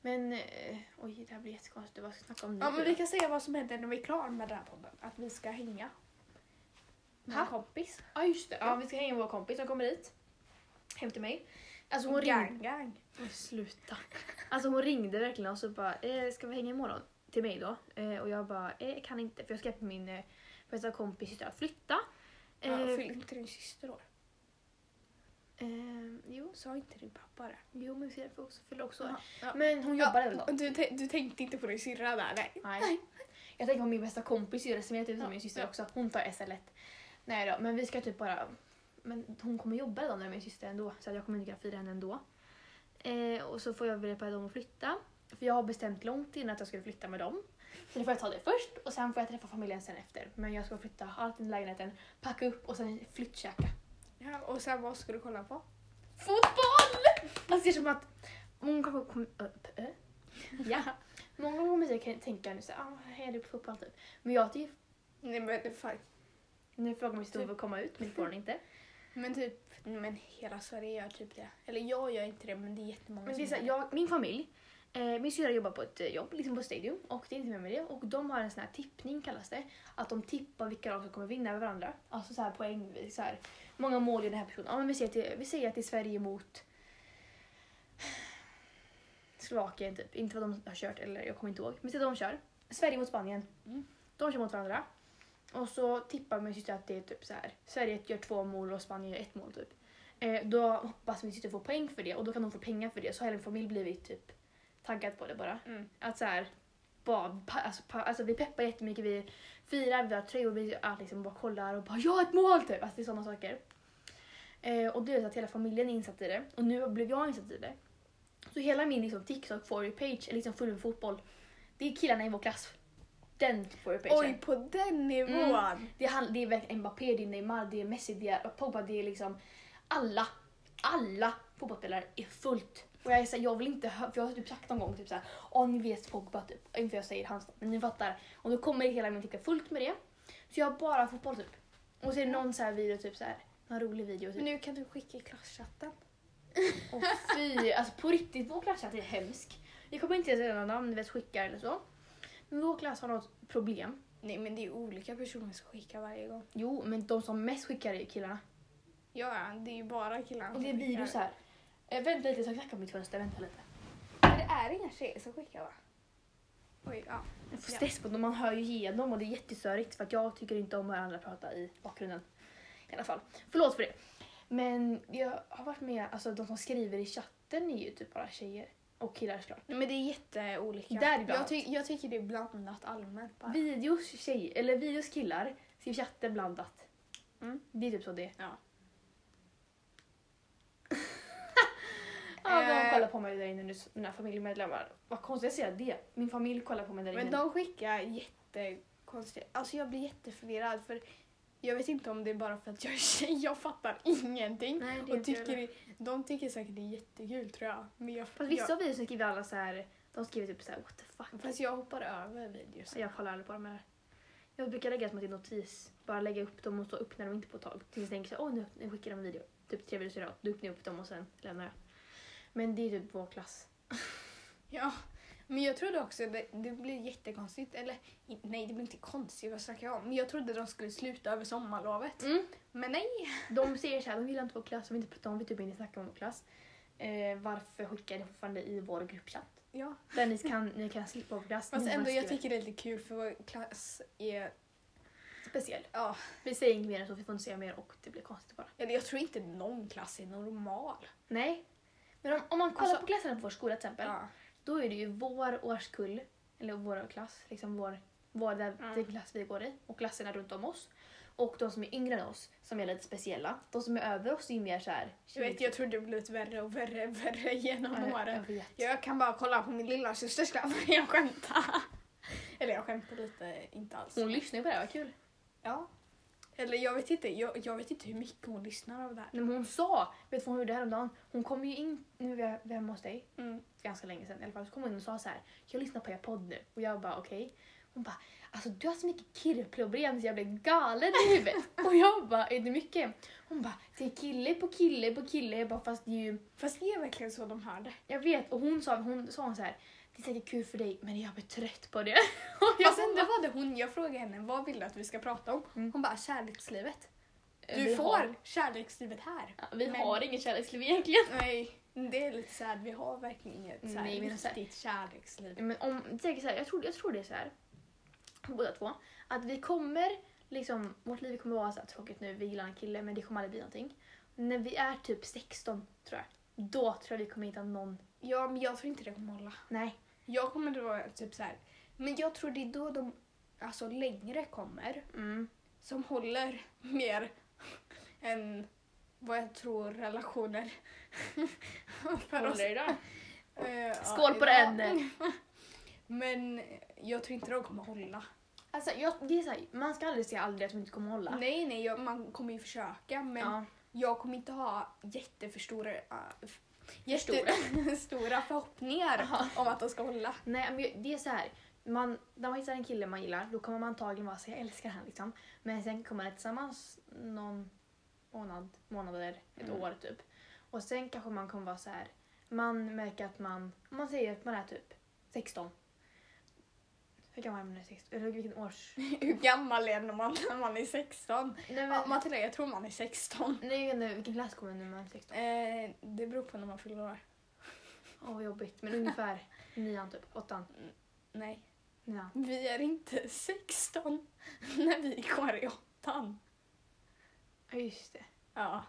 men eh, oj, det här blir jättekonstigt. Vad ska vi snacka om nu?
Ja, men
då?
vi kan säga vad som händer när vi är klara med den här podden. Att vi ska hänga. Med en
Ha?
kompis.
Ja just det, ja, vi ska hänga med vår kompis som kommer hit. Hem till mig. Alltså hon ringde...
Gang, gang.
Oj, sluta. Alltså hon ringde verkligen och så bara, eh, ska vi hänga imorgon? Till mig då. Eh, och jag bara, eh, kan inte. För jag ska hjälpa min eh, bästa kompis syster att flytta. Eh,
Ja, fyll inte din syster år.
eh, jo,
Sa inte din pappa det?
jo men vi ser också, fyller också år.
Ja, ja.
Men hon jobbar även då.
Du, tän- du tänkte inte på din syrra där? Nej.
Nej. Jag tänker på min bästa kompis Tyra som jag typ som
Ja,
min syster
ja.
också. Hon tar SL1. Nej då, men vi ska typ bara... Men hon kommer jobba idag när min syster ändå så att jag kommer inte kunna fira henne ändå. Eh, och så får jag väl hjälpa dem att flytta. För jag har bestämt långt innan att jag skulle flytta med dem. Så det får jag ta det först och sen får jag träffa familjen sen efter. Men jag ska flytta allt i lägenheten, packa upp och sen flyttkäka.
Ja, och sen vad ska du kolla på?
Fotboll! Alltså det är som att många gånger kommer... ö, p- ö? Ja. Många gånger kommer jag tänka nu såhär, ah, hejar du på fotboll typ? Men jag tycker
Nej men fan.
Nu frågar min storebror att komma ut, men det får han inte.
Men typ, men hela Sverige gör typ det. Eller jag gör inte det men det är jättemånga
Men
som
det är så här,
gör det.
jag, min familj, eh, min syrra jobbar på ett eh, jobb, liksom på Stadium, och det är inte med mig det. Och de har en sån här tippning kallas det. Att de tippar vilka lag som kommer vinna över varandra. Alltså så här poängvis. Så här, många mål i den här personen. Ja, men vi, säger att det, vi säger att det är Sverige mot Slovakien typ. Inte vad de har kört, eller jag kommer inte ihåg. Men säg att de kör. Sverige mot Spanien.
Mm.
De kör mot varandra. Och så tippar min syster att det är typ så här. Sverige gör två mål och Spanien gör ett mål typ. Eh, då hoppas min syster få poäng för det och då kan de få pengar för det. Så har hela min familj blivit typ taggad på det bara.
Mm.
Att så här, bara, pa, alltså, pa, alltså vi peppar jättemycket, vi firar, vi har tröjor, vi allt liksom bara kollar och bara ja ett mål typ. Alltså det är sådana saker. Eh, och det är så att hela familjen är insatt i det och nu blev jag insatt i det. Så hela min liksom, TikTok for you page är liksom full med fotboll. Det är killarna i vår klass. Den for you pagen.
Oj, på den nivån!
Det är, han, det är verkligen Mbappé, det är Neymar, det är Messi, det är Pogba, det är liksom alla. Alla fotbollsspelare är fullt. Och jag, är så här, jag vill inte hö- för jag har typ sagt någon gång typ såhär, åh ni vet Pogba typ, inte för jag säger hans namn, men ni fattar. Och då kommer hela min TikTok fullt med det. Så jag har bara fotboll typ. Och så är det någon så här video typ såhär, någon rolig video
Men
typ.
nu kan du skicka i klasschatten.
Åh fy, alltså på riktigt vår klasschatt är hemsk. Vi kommer inte ens säga några namn, ni vet skicka eller så. Men vår klass har något problem.
Nej men det är olika personer som skickar varje gång.
Jo, men de som mest skickar är ju killarna.
Ja, ja, det är ju bara killarna
Och det är
som skickar.
virus här. Eh, vänta lite, jag ska knacka på mitt fönster. Vänta lite.
är inga tjejer som skickar va? Oj, ja.
Jag får
Ja.
stress på dem, man hör ju igenom och det är jättestörigt för att jag tycker inte om att höra andra prata i bakgrunden. I alla fall. Förlåt för det. Men jag har varit med, alltså de som skriver i chatten är ju typ bara tjejer. Och killar såklart.
Men det är jätteolika.
Där är bra.
jag, ty- jag tycker det är blandat allmänt bara.
Videos tjejer, eller videos killar skriver i chatten blandat.
Mm.
Det är typ så det är.
Ja.
Ja, de
Eh.
kollar på mig där inne nu, mina familjemedlemmar. Vad konstigt att säga det. Min familj kollar på mig där inne.
Men de skickar jättekonstiga... Alltså jag blir jätteförvirrad för jag vet inte om det är bara för att jag är tjej, jag fattar ingenting.
Nej, det
och
vet jag
tycker det, de tycker säkert det är jättekul tror jag. Men jag,
Fast vissa
jag,
av videos så skriver alla så här, de skriver typ så här what the fuck.
fast jag hoppar över videos.
Så jag kollar aldrig på dem här. Jag brukar lägga som att det är notis. Bara lägga upp dem och stå upp när de inte är på tag. Tills jag tänker så här, åh nu, nu skickar de en video. Typ tre videos i rad. Då öppnar jag upp dem och sen lämnar jag. Men det är typ vår klass.
Ja, men jag trodde också det, det blir jättekonstigt. Eller i- nej, det blir inte konstigt, vad snackar jag om? Men jag trodde de skulle sluta över sommarlovet.
Mm.
Men nej!
De säger så här, de gillar inte vår klass, de vill, inte, de vill typ inte snacka om vår klass. Eh, varför skickar ni fortfarande i vår gruppchatt?
Ja.
Där ni kan, ni kan slippa vår klass.
Fast
ni bara
ändå, jag
skriver.
tycker det är lite kul för vår klass är...
Speciell.
Ja,
Vi säger inget mer än så, vi får inte säga mer och det blir konstigt bara.
eller jag tror inte någon klass är normal.
Nej. Men om, om man kollar
Alltså-
på klasserna på vår skola till exempel.
Ja.
Då är det ju vår årskull, eller vår klass, liksom vår, vår där,
Ja.
den klass vi går i och klasserna runt om oss. Och de som är yngre än oss, som är lite speciella. De som är över oss är ju mer såhär...
Jag vet, jag tror det har blivit värre och värre och värre genom
jag
åren.
vet.
Jag kan bara kolla på min lilla systers klass, jag skämtar. Eller jag skämtar lite, inte alls.
Hon lyssnar ju på det här, vad kul.
Ja. Eller jag vet inte, jag, jag vet inte hur mycket hon lyssnar av det här.
Nej, men hon sa, vet du vad hon gjorde häromdagen? Hon kom ju in, nu var vi hemma hos dig,
Mm.
ganska länge sedan i alla fall, så kom hon in och sa så här. jag lyssnar på er podd nu. Och jag bara okej. Hon bara, alltså du har så mycket killproblem så jag blir galen i huvudet. och jag bara, är det mycket? Hon bara, det är kille på kille på kille. Jag bara, fast det är ju
Fast det är verkligen så de hör det.
Jag vet, och hon sa, hon sa hon så här, det är säkert kul för dig men jag blir trött på det. Och jag
Fast
bara,
ändå var det hon, jag frågade henne vad vill du att vi ska prata om?
Mm. Eh,
Hon bara kärlekslivet. Du
"Vi
får
Har,
kärlekslivet här.
ja, vi
Men-
har ingen kärleksliv egentligen.
Nej, det är lite såhär, vi har verkligen inget så här
Nej, men så här-
riktigt kärleksliv.
Men om, säkert så här, jag, tror, jag tror det är så här, båda två, att vi kommer, liksom, vårt liv kommer vara så här tråkigt nu, vi gillar en kille men det kommer aldrig bli någonting. När vi är typ 16 tror jag, då tror jag vi kommer hitta någon,
Ja, men jag tror inte det kommer hålla.
nej.
Jag kommer då vara typ så här. Men jag tror det är då de alltså, längre kommer
Mm.
som håller mer än vad jag tror relationer för oss.
idag.
Eh, ja,
Skål på
idag.
den!
Men jag tror inte de kommer hålla.
Alltså jag, det är så här, man ska aldrig säga aldrig att de inte kommer hålla.
Nej, nej, jag, man kommer ju försöka men
Ja.
jag kommer inte ha jätteförstora uh,
Förstora.
stora förhoppningar
Aha.
om att de ska hålla.
Nej, men jag- det är så här. Man, när man hittar en kille man gillar då kommer man antagligen vara så jag älskar han liksom. Men sen kommer man tillsammans någon månad, månader, ett
Mm.
år typ. Och sen kanske man kommer vara så här. man märker att man, om man säger att man är typ 16. Hur gammal är man nu? 16? Eller vilken års...
Hur gammal är man när man är 16?
Nej,
Ja,
men,
Matilda, jag tror man är 16.
nej, jag vet inte, vilken klass kommer man nu när man är 16?
Eh, det beror på när man fyller år.
Åh vad jobbigt, men ungefär nian typ, åttan,
Nej,
nian.
vi är inte 16 när vi går i åttan.
Ja just det.
Ja.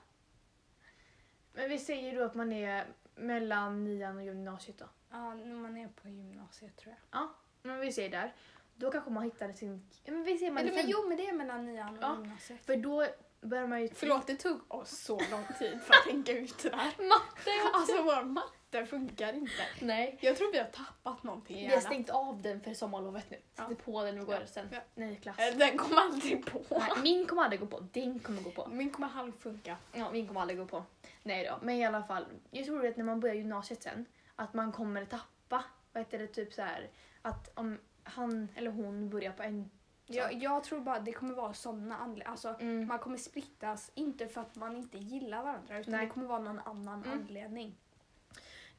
Men vi säger då att man är mellan nian och gymnasiet då.
ja, när man är på gymnasiet tror jag.
Ja, men vi ser där. Då kanske man hittar sin... ja, Men vi ser man
Eller, men,
fem-
jo, men det är mellan nian och
Ja.
gymnasiet.
För då börjar man ju...
Förlåt, det tog oss så lång tid för att tänka ut det där.
Matte!
Alltså vår matte funkar inte.
Nej.
Jag tror vi har tappat någonting i
Vi har
hjärnan.
stängt av den för sommarlovet nu.
Ja.
Sätter på den och går
Ja.
sen.
Ja.
Nej, klass.
Eh, Den kom aldrig på.
Nej, min kommer aldrig gå på. Din kommer gå på.
Min kommer halvfunka.
Ja, min kommer aldrig gå på. Nej då, men i alla fall. Jag tror att när man börjar gymnasiet sen, att man kommer tappa. Vad heter det? Typ så här att om han eller hon börjar på en...
Jag, jag tror bara det kommer vara sådana anledningar. Alltså,
Mm.
Man kommer splittas, inte för att man inte gillar varandra utan
Nej.
det kommer vara någon annan
Mm.
anledning.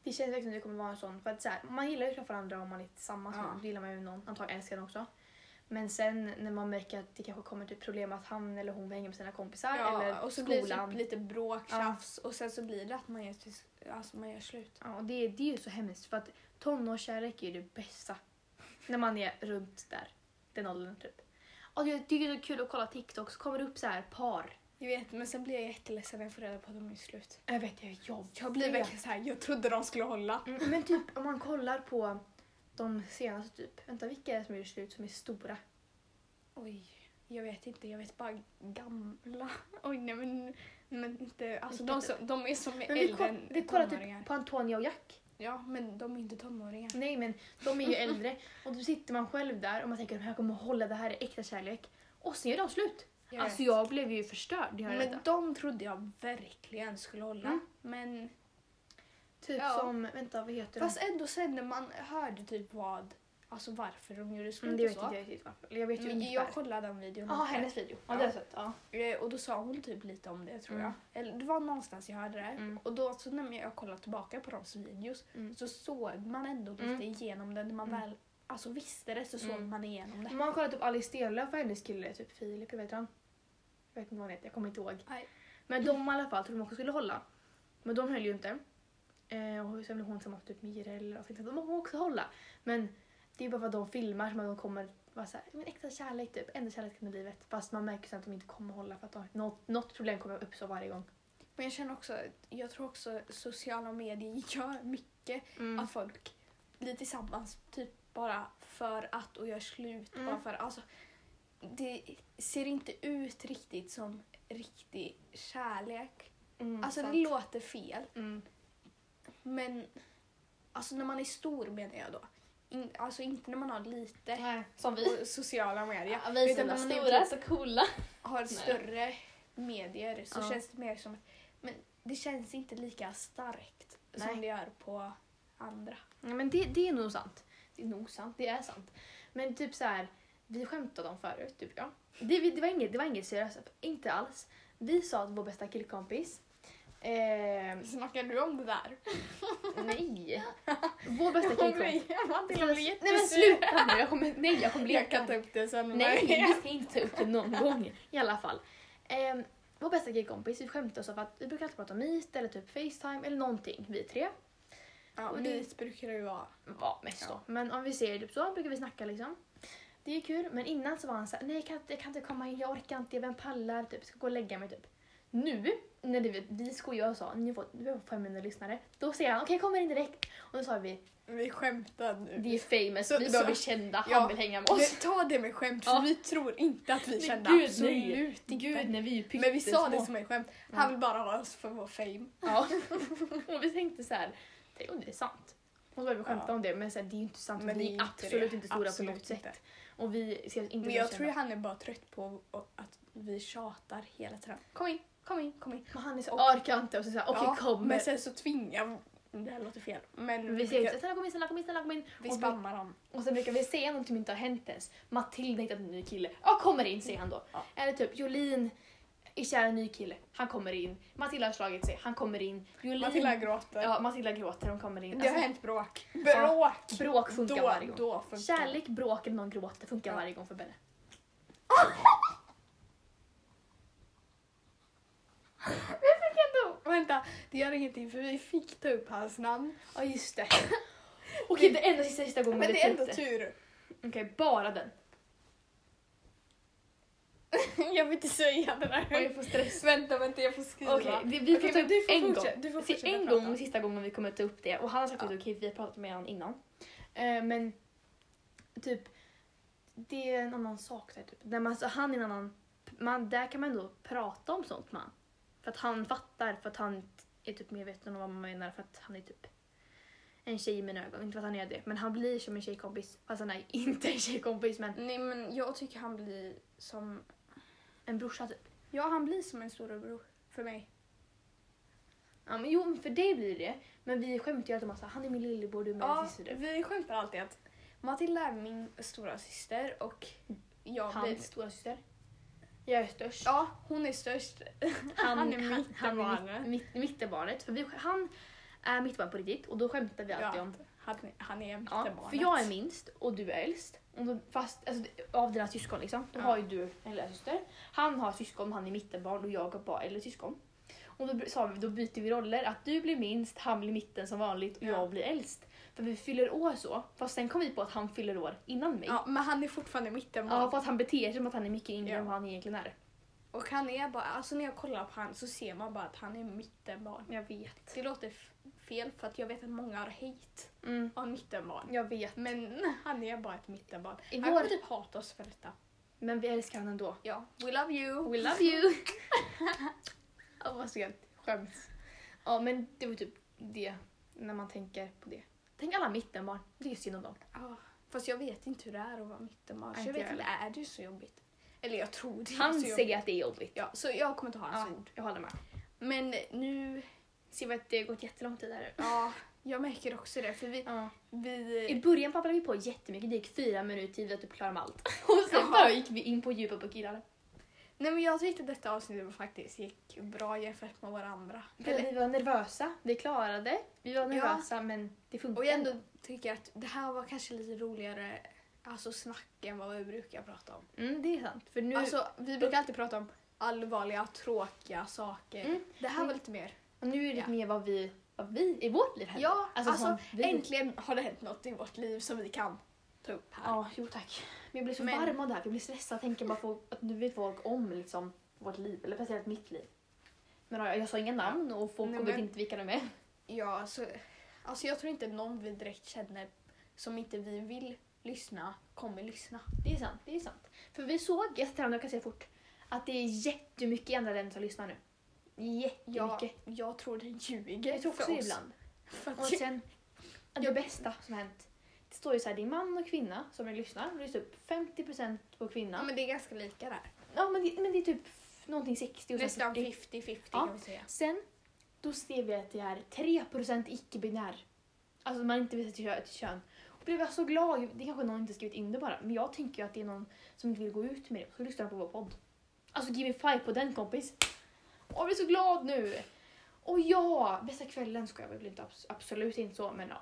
Det känns verkligen som det kommer vara en sån. För att så här, man gillar ju såklart varandra om man är tillsammans.
Ja.
Då gillar man ju någon. Antagligen älskar den också. Men sen när man märker att det kanske kommer typ problem att han eller hon hänger med sina kompisar
Ja,
eller
och så blir det
skolan.
typ lite bråk,
Ja.
tjafs och sen så blir det att man gör, tills- alltså man gör slut.
Ja, och det, det är ju så hemskt för att tonårskärlek är ju det bästa. När man är runt där, den åldern typ. Och jag tycker det är kul att kolla TikTok så kommer det upp så här par.
Jag vet, men sen blir jag jätteledsen när jag får reda på att de är slut.
Jag vet, jag, jag,
Jag blir verkligen så här, jag trodde de skulle hålla.
Mm, men typ om man kollar på de senaste typ. Vänta, vilka är det som är slut som är stora?
Oj, jag vet inte, jag vet bara gamla. Oj, nej men, men inte, alltså de, som, de är som är
Men vi,
äldre
koll,
än
vi kollar
tonåringar.
typ på Antonia och Jack.
Ja, men de är inte tonåringar.
Nej men de är ju äldre och då sitter man själv där och man tänker de här kommer hålla, det här är äkta kärlek. Och sen är de slut.
Jag
alltså
vet.
jag blev ju förstörd. Jag
men
men,
de trodde jag verkligen skulle hålla.
Mm.
Men
typ
ja.
som, vänta vad heter de?
fast ändå sen när man hörde typ vad, alltså varför de gjorde slut
Mm, det
och
vet
så.
inte jag riktigt varför. Jag vet ju
Men
ungefär.
jag kollade den videon.
Ja,
lite.
hennes video. Ja,
Ja.
det har jag sett. Ja.
Eh, Och då sa hon typ lite om det tror
Mm.
jag. Eller det var någonstans jag hörde det.
Mm.
Och då så när jag kollade tillbaka på deras videos
Mm.
så såg man ändå lite
Mm.
igenom det. När man
Mm.
väl alltså, visste det så såg
Mm.
man igenom det.
Om man kollar typ Alice Stenlöf och hennes kille, typ Filip, jag vet han. Jag vet inte vad han heter, jag kommer inte ihåg.
Nej.
Men de i alla fall trodde de också skulle hålla. Men de höll ju inte. Eh, och sen blev hon tillsammans typ med Jireel och tänkte att de kommer också hålla. Men det är bara för att de filmar som att de kommer vara såhär, men äkta kärlek typ, enda kärleken i livet. Fast man märker sen att de inte kommer hålla för att de, något, något problem kommer uppstå varje gång.
Men jag känner också, jag tror också att sociala medier gör mycket.
Alltså,
Att folk blir tillsammans typ bara för att och gör slut.
Mm.
Bara för, alltså, det ser inte ut riktigt som riktig kärlek.
Mm,
Alltså
sant.
det låter fel.
Mm.
Men alltså när man är stor menar jag då. In, alltså inte när man har lite
Nej, som vi.
på sociala medier.
Ja, vi
Utan
som är
när man är
stora, så coola.
Har större medier så
Ja.
känns det mer som men det känns inte lika starkt
Nej.
som det gör på andra.
Ja, men det, det är nog sant. Det är nog sant, det är sant. Men typ så här, vi skämtade om förut, typ jag. Det, vi- det var inget, det var inget seriöst, inte alls. Vi sa att vår bästa killkompis... Eh,
Snackar du om det där?
nej! Vår bästa killkompis...
Matilda blir
Nej men
jättesur.
sluta nu, jag kommer, nej jag kommer
Jag kan
leka.
ta upp det sen. med
Nej,
Maria.
vi ska inte ta upp det någon gång i alla fall. Eh, vår bästa killkompis, vi skämtade oss av att vi brukar alltid prata om Meet eller typ Facetime eller någonting, vi tre.
Ja,
Och
vi brukar ju vara...
Ja, mest då.
Ja.
Men om vi ser typ så brukar vi snacka liksom. Det är kul, men innan så var han såhär, nej jag kan, inte, jag kan inte komma in, jag orkar inte, vem pallar? Typ, ska gå och lägga mig typ. Nu, när det, vi skojade och sa, ni får, vi har 500 lyssnare, då säger han, okej jag kommer in direkt. Och då sa vi,
Vi skämtar nu.
vi är famous,
Så-
vi
så-
behöver bli kända,
ja.
han vill hänga med
Men
oss.
Ta det med skämt för
Ja.
vi tror inte att vi
Men
kände
gud,
absolut inte.
när vi är
Men vi sa det
pyttesmå.
som ett skämt.
Ja.
Han vill bara ha oss för vår fame.
Ja. och vi tänkte så här, tänk om det är sant. Och så började vi skämta
Ja.
om det, men så här, det är ju inte sant, men vi är
inte
absolut
det.
inte stora
Absolut
på något
inte.
sätt. Och vi ser inte
Men
oss
jag
kända.
tror han är bara trött på att vi tjatar hela tiden. Kom in, kom in, kom in.
Men han är så orkar inte och så säger okej
Ja,
kommer.
Men sen så tvingar Det här låter fel. Men
vi säger snälla kom in, snälla kom in, snälla kom in.
vi
och,
spammar dem.
och sen brukar vi säga något som inte har hänt ens. Matilda har hittat en ny kille. Ja kommer in säger han då.
Ja.
Eller typ Jolin är kär i en ny kille. Han kommer in. Matilda har slagit sig. Han kommer in. Jolin,
Matilda gråter.
ja, Matilda gråter. Hon kommer in.
Det har
Alltså,
hänt bråk.
Ja,
Bråk!
bråk funkar
då,
varje gång.
Då funkar.
Kärlek, bråk eller någon gråter funkar
Ja.
varje gång för Benny.
Vänta, det gör ingenting för vi fick ta upp hans namn.
Ja just det. Okej det är enda sista, sista gången
Men det
vi
är
tar
ändå typ-
upp det.
tur.
Okej bara den.
jag vill inte säga det där.
Och jag får stress.
Vänta, vänta jag får skriva.
Okej, vi, vi får
Okej,
ta upp
men du får
en
fortsätta-
gång.
du får
Se,
fortsätta
en
prata.
gång, sista gången vi kommer ta upp det. Och han har sagt
Ja.
att okej, vi har pratat med honom innan. Eh, men typ, det är en annan sak där typ. När man, så han är en annan, man, där kan man ändå prata om sånt man. För att han fattar, för att han är typ medveten om vad man menar för att han är typ en tjej i mina ögon. Inte för att han är det, men han blir som en tjejkompis. Fast han är inte en tjejkompis men
Nej men jag tycker han blir som...
en brorsa typ.
Ja han blir som en storebror för mig.
Ja, men jo, men för dig blir det. Men vi skämtar ju alltid om att så här, han är min lillebror, du är min
Ja,
syster.
vi skämtar alltid att Matilda är min stora syster och jag
Han
blir...
är stora syster. Jag är störst.
Ja, hon är störst.
Han,
han är
han- han är
mittenbarnet.
mitt- mitt- Mittenbarnet. För vi, han är mittbarn på riktigt och då skämtar vi alltid
Ja.
om
Han, han är jämte
Ja,
barnet.
för jag är minst och du är äldst. Och då- Fast alltså, av dina syskon liksom. Då
Ja.
har ju du en lilla syster. Han har syskon, han är mittenbarn och jag har bara äldre syskon. Och då sa vi, då byter vi roller. Att du blir minst, han blir mitten som vanligt och
Ja.
jag blir äldst. För vi fyller år så. Fast sen kom vi på att han fyller år innan mig. Ja,
Ja, men han är fortfarande mitten
för att han beter sig som att han är mycket yngre
Ja.
än vad han egentligen är.
Och han är bara, alltså när jag kollar på han så ser man bara att han är mittenbarn.
Jag vet.
Det låter f- fel för att jag vet att många har hate
Mm,
av mittenbarn.
jag vet.
Men han är bara ett mittenbarn.
I
han
vår-
kommer typ hata oss för detta.
Men vi älskar han ändå.
Ja, we love you!
We love you! Åh vad sent. Skämt. Ja men det var typ det när man tänker på det. Tänk alla mittenbarn. Det är synd om dem.
Ja, fast jag vet inte hur det är att vara mittenbarn. Så
Nej,
jag
inte
vet
jag
inte, är det så jobbigt? Eller jag tror det är
Han
så jobbigt.
säger att det är jobbigt.
Ja, så jag kommer inte ha hans
Ja,
ord.
jag håller med.
Men nu,
Ser vi att det har gått jättelång tid här.
ja, jag märker också det för vi...
Ja.
vi
I början babblade vi på jättemycket. Det gick fyra minuter vi var typ klara med allt. Och sen
Ja.
bara gick vi in på djupet på killar.
Nej men jag tyckte detta avsnittet faktiskt gick bra jämfört med våra andra. Eller,
Vi var nervösa. Vi klarade. Vi var nervösa men det funkade.
och jag ändå tycker att det här var kanske lite roligare alltså snack än vad vi brukar prata om.
Mm, det är sant. För nu...
Alltså vi brukar alltid prata om allvarliga, tråkiga saker.
Mm.
Det här var lite mer.
Och nu är det
Ja.
mer vad vi, vad vi i vårt liv händer.
Ja, alltså,
Mm. som vi-
äntligen har det hänt något i vårt liv som vi kan ta upp här.
Ja, jo tack. Men jag blir så
Men-
varm av det här. Jag blir stressad. Jag tänker bara på att nu vet folk om liksom, vårt liv, eller speciellt mitt liv. Men ja, jag sa inga namn och folk
Nej,
kommer
men-
inte vilka de är.
Ja, så, alltså jag tror inte någon vi direkt känner som inte vi vill lyssna kommer lyssna.
Det är sant. Det är sant. För vi såg, jag sitter här nu, jag kan säga fort, att det är jättemycket i andra länder som lyssnar nu.
Jag,
Jättemycket.
jag tror den ljuger
Jag tror också
för
det
oss.
ibland.
För att
Och sen, det bästa som hänt. Det står ju så här, det är man och kvinna som lyssnar. Det är typ 50% på
Ja,
kvinna.
men det är ganska lika där.
Ja, men det, men det är typ någonting 60 och sen
Nästan
40.
50-50
Ja.
kan vi säga.
Sen då ser vi att det är 3% icke-binär. Alltså man inte vill till kö- till kön. Och blev jag så glad. Det kanske någon inte skrivit in det bara. Men jag tänker ju att det är någon som inte vill gå ut med det. Så lyssnar de på vår podd. Alltså give me five på den kompis. Åh, jag blir så glad nu. Och ja, bästa kvällen ska jag väl inte abs- absolut inte så men ja.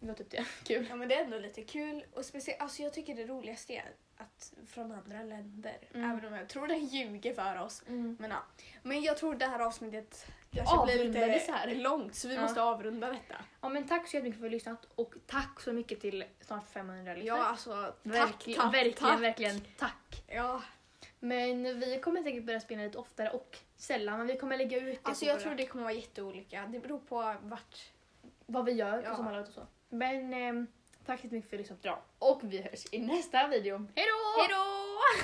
Det var typ det. Kul.
Ja men det är ändå lite kul och speciellt, alltså jag tycker det roligaste är att från andra länder,
Mm.
även om jag tror den ljuger för oss. Men, ja. men jag tror det här avsnittet kanske blir
avrundades
lite
här.
långt så vi
Ja.
måste avrunda detta.
Ja men tack så jättemycket för att du har lyssnat och tack så mycket till snart 500 lyssnare.
Ja alltså tack,
verkligen,
tack,
verkligen,
tack.
verkligen tack.
Ja,
Men vi kommer säkert börja spela lite oftare och sällan. Men vi kommer lägga ut det
alltså
på
jag
våra-
tror det kommer vara jätteolika. Det beror på vart.
vad vi gör
Ja.
på sommarlovet och så. Men ehm, tack så mycket för att du lyssnade. Och vi hörs i nästa video. Hej då!
Hejdå!